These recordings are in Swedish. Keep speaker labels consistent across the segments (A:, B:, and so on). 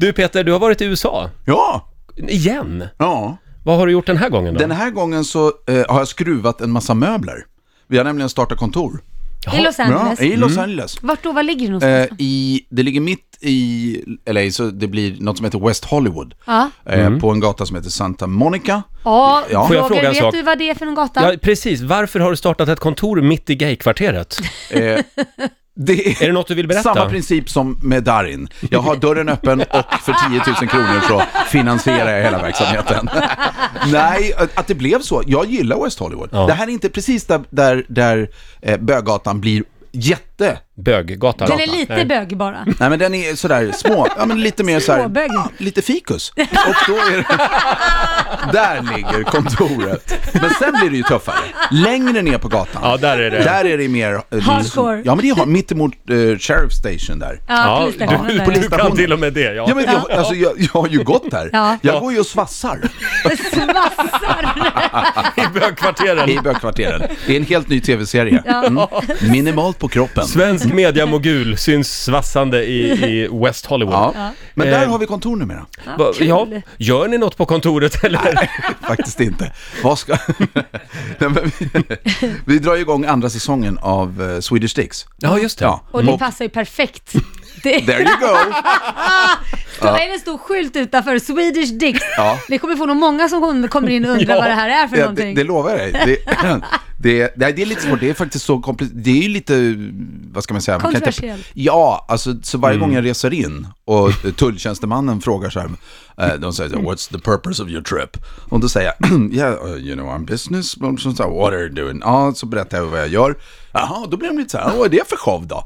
A: Du Peter, du har varit i USA.
B: Ja,
A: Igen.
B: ja.
A: Vad har du gjort den här gången då?
B: Den här gången så eh, har jag skruvat en massa möbler. Vi har nämligen startat kontor.
A: Jaha.
C: I Los
B: Bra,
C: Angeles.
B: i
A: Mm.
B: Los Angeles.
C: Vart då? Var ligger det någonstans?
B: Eh, i, det ligger mitt i LA, så det blir något som heter West Hollywood.
C: ja.
B: Eh,
A: Mm.
B: På en gata som heter Santa Monica.
C: Ja,
B: Ja.
C: ja.
B: Får
A: jag fråga en
C: Roger, vet
A: sak?
C: du vad det är för en gata?
A: Ja, precis. Varför har du startat ett kontor mitt i gaykvarteret?
B: Eh, det
A: Är det något du vill berätta?
B: Samma princip som med Darin. Jag har dörren öppen och för 10 000 kronor så finansierar jag hela verksamheten. Nej, att det blev så. Jag gillar West Hollywood.
A: Ja.
B: Det här är inte precis där, där, där eh, böggatan blir jätte...
A: Böggatan.
C: Den är lite
A: Nej.
C: bög bara.
B: Nej men den är sådär små, ja men lite mer såhär,
C: Småbög.
B: ja, lite fikus. Och då är det, där ligger kontoret. Men sen blir det ju tuffare. Längre ner på gatan.
A: Ja, där är det.
B: Där är det mer... eh,
C: Hardcore.
B: Ja men det är har- mittemot eh, Sheriff Station där.
C: Ja,
A: Ja,
C: polisstationen
A: du,
C: där.
A: du
B: Polisstationen.
A: kan till och med det, ja.
B: Ja, men jag, alltså, jag, jag har ju gått där.
C: Ja.
B: Jag går ju och svassar
C: Svassar!
A: I bögkvarteren.
B: i bögkvarteren. Det är en helt ny tv-serie. Mm. Minimalt på kroppen.
A: Svensk mediamogul syns svassande i, i West Hollywood.
B: Ja. Men där
A: Eh.
B: har vi kontor numera.
A: Va,
C: kul.
A: ja, gör ni något på kontoret eller?
B: Faktiskt inte. Vad ska... Nej, men vi, vi drar ju igång andra säsongen av eh, Swedish Dicks.
A: Ja, just det.
B: Ja.
C: Och det passar ju perfekt. Det,
B: There you go!
C: då är det en stor skylt utanför, Swedish Dicks.
B: Ja.
C: Vi kommer få nog många som kommer in och undrar
A: Ja.
C: vad det här är för
B: Ja, det,
C: någonting.
B: det lovar jag dig. Det, det, nej, det är lite svårt, det är faktiskt så komplicerat. Det är ju lite, vad ska man säga? Man kan inte-
C: Kontroversiellt.
B: ja, alltså så varje gång jag reser in och tulltjänstemannen frågar så här, eh, de säger så här, what's the purpose of your trip? Och då säger jag, yeah, uh, you know I'm business, och så, så här, what are you doing? Ja, så berättar jag vad jag gör. Jaha, då blir de lite så här, vad är det för show då?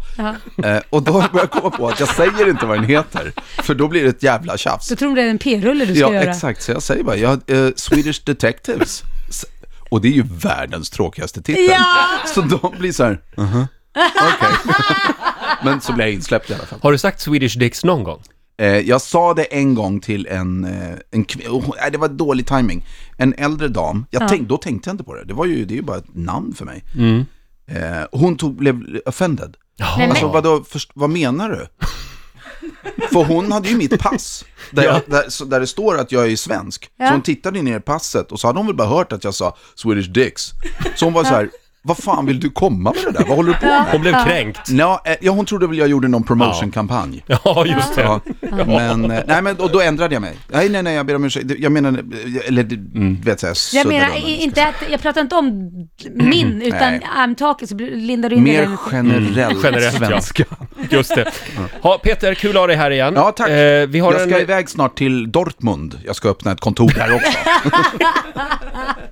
B: Eh, och då börjar jag komma på att jag säger inte vad den heter, för då blir det ett jävla tjafs.
C: Så tror de det är en p-rulle du ska
B: Ja,
C: göra.
B: exakt. Så jag säger bara, jag, eh, Swedish Detectives. S- Och det är ju världens tråkigaste titel.
C: Ja!
B: Så de blir så här, uh okej. Men så blir jag insläppt i alla fall.
A: Har du sagt Swedish Dicks någon gång?
B: Eh, jag sa det en gång till en, eh, en kv- oh, nej, det var dålig timing. En äldre dam, jag tänk, då tänkte jag inte på det. Det, var ju, det är ju bara ett namn för mig. Eh, hon tog, blev offended.
A: Ja.
C: Nej, men-
B: Alltså vadå, först, vad menar du? För hon hade ju mitt pass, där, jag, där, så, där det står att jag är svensk.
C: Ja.
B: Så hon tittade ner i passet och så hade hon väl bara hört att jag sa Swedish dicks. Så hon var så här, vad fan vill du komma med det där? Vad håller du på med?
A: Hon blev kränkt.
B: Nå, eh, Ja, hon trodde väl jag gjorde någon promotionkampanj.
A: Ja, just det.
B: Ja. Men, eh, nej, men och då ändrade jag mig. Nej, nej, nej, jag ber om ursäkt. Jag menar, eh, eller
A: Mm.
B: du vet så här,
C: Jag
B: suddade
C: menar,
B: om den.
C: inte att, jag pratar inte om min, utan
B: Nej.
C: I'm talking, så lindar du in det
B: Mer
C: där.
B: generell
A: Generellt, ja.
B: svenska.
A: Just det. Ha, Peter, kul att ha dig här igen.
B: Ja, tack.
A: Eh, vi har
B: jag ska
A: en...
B: iväg snart till Dortmund. Jag ska öppna ett kontor där också.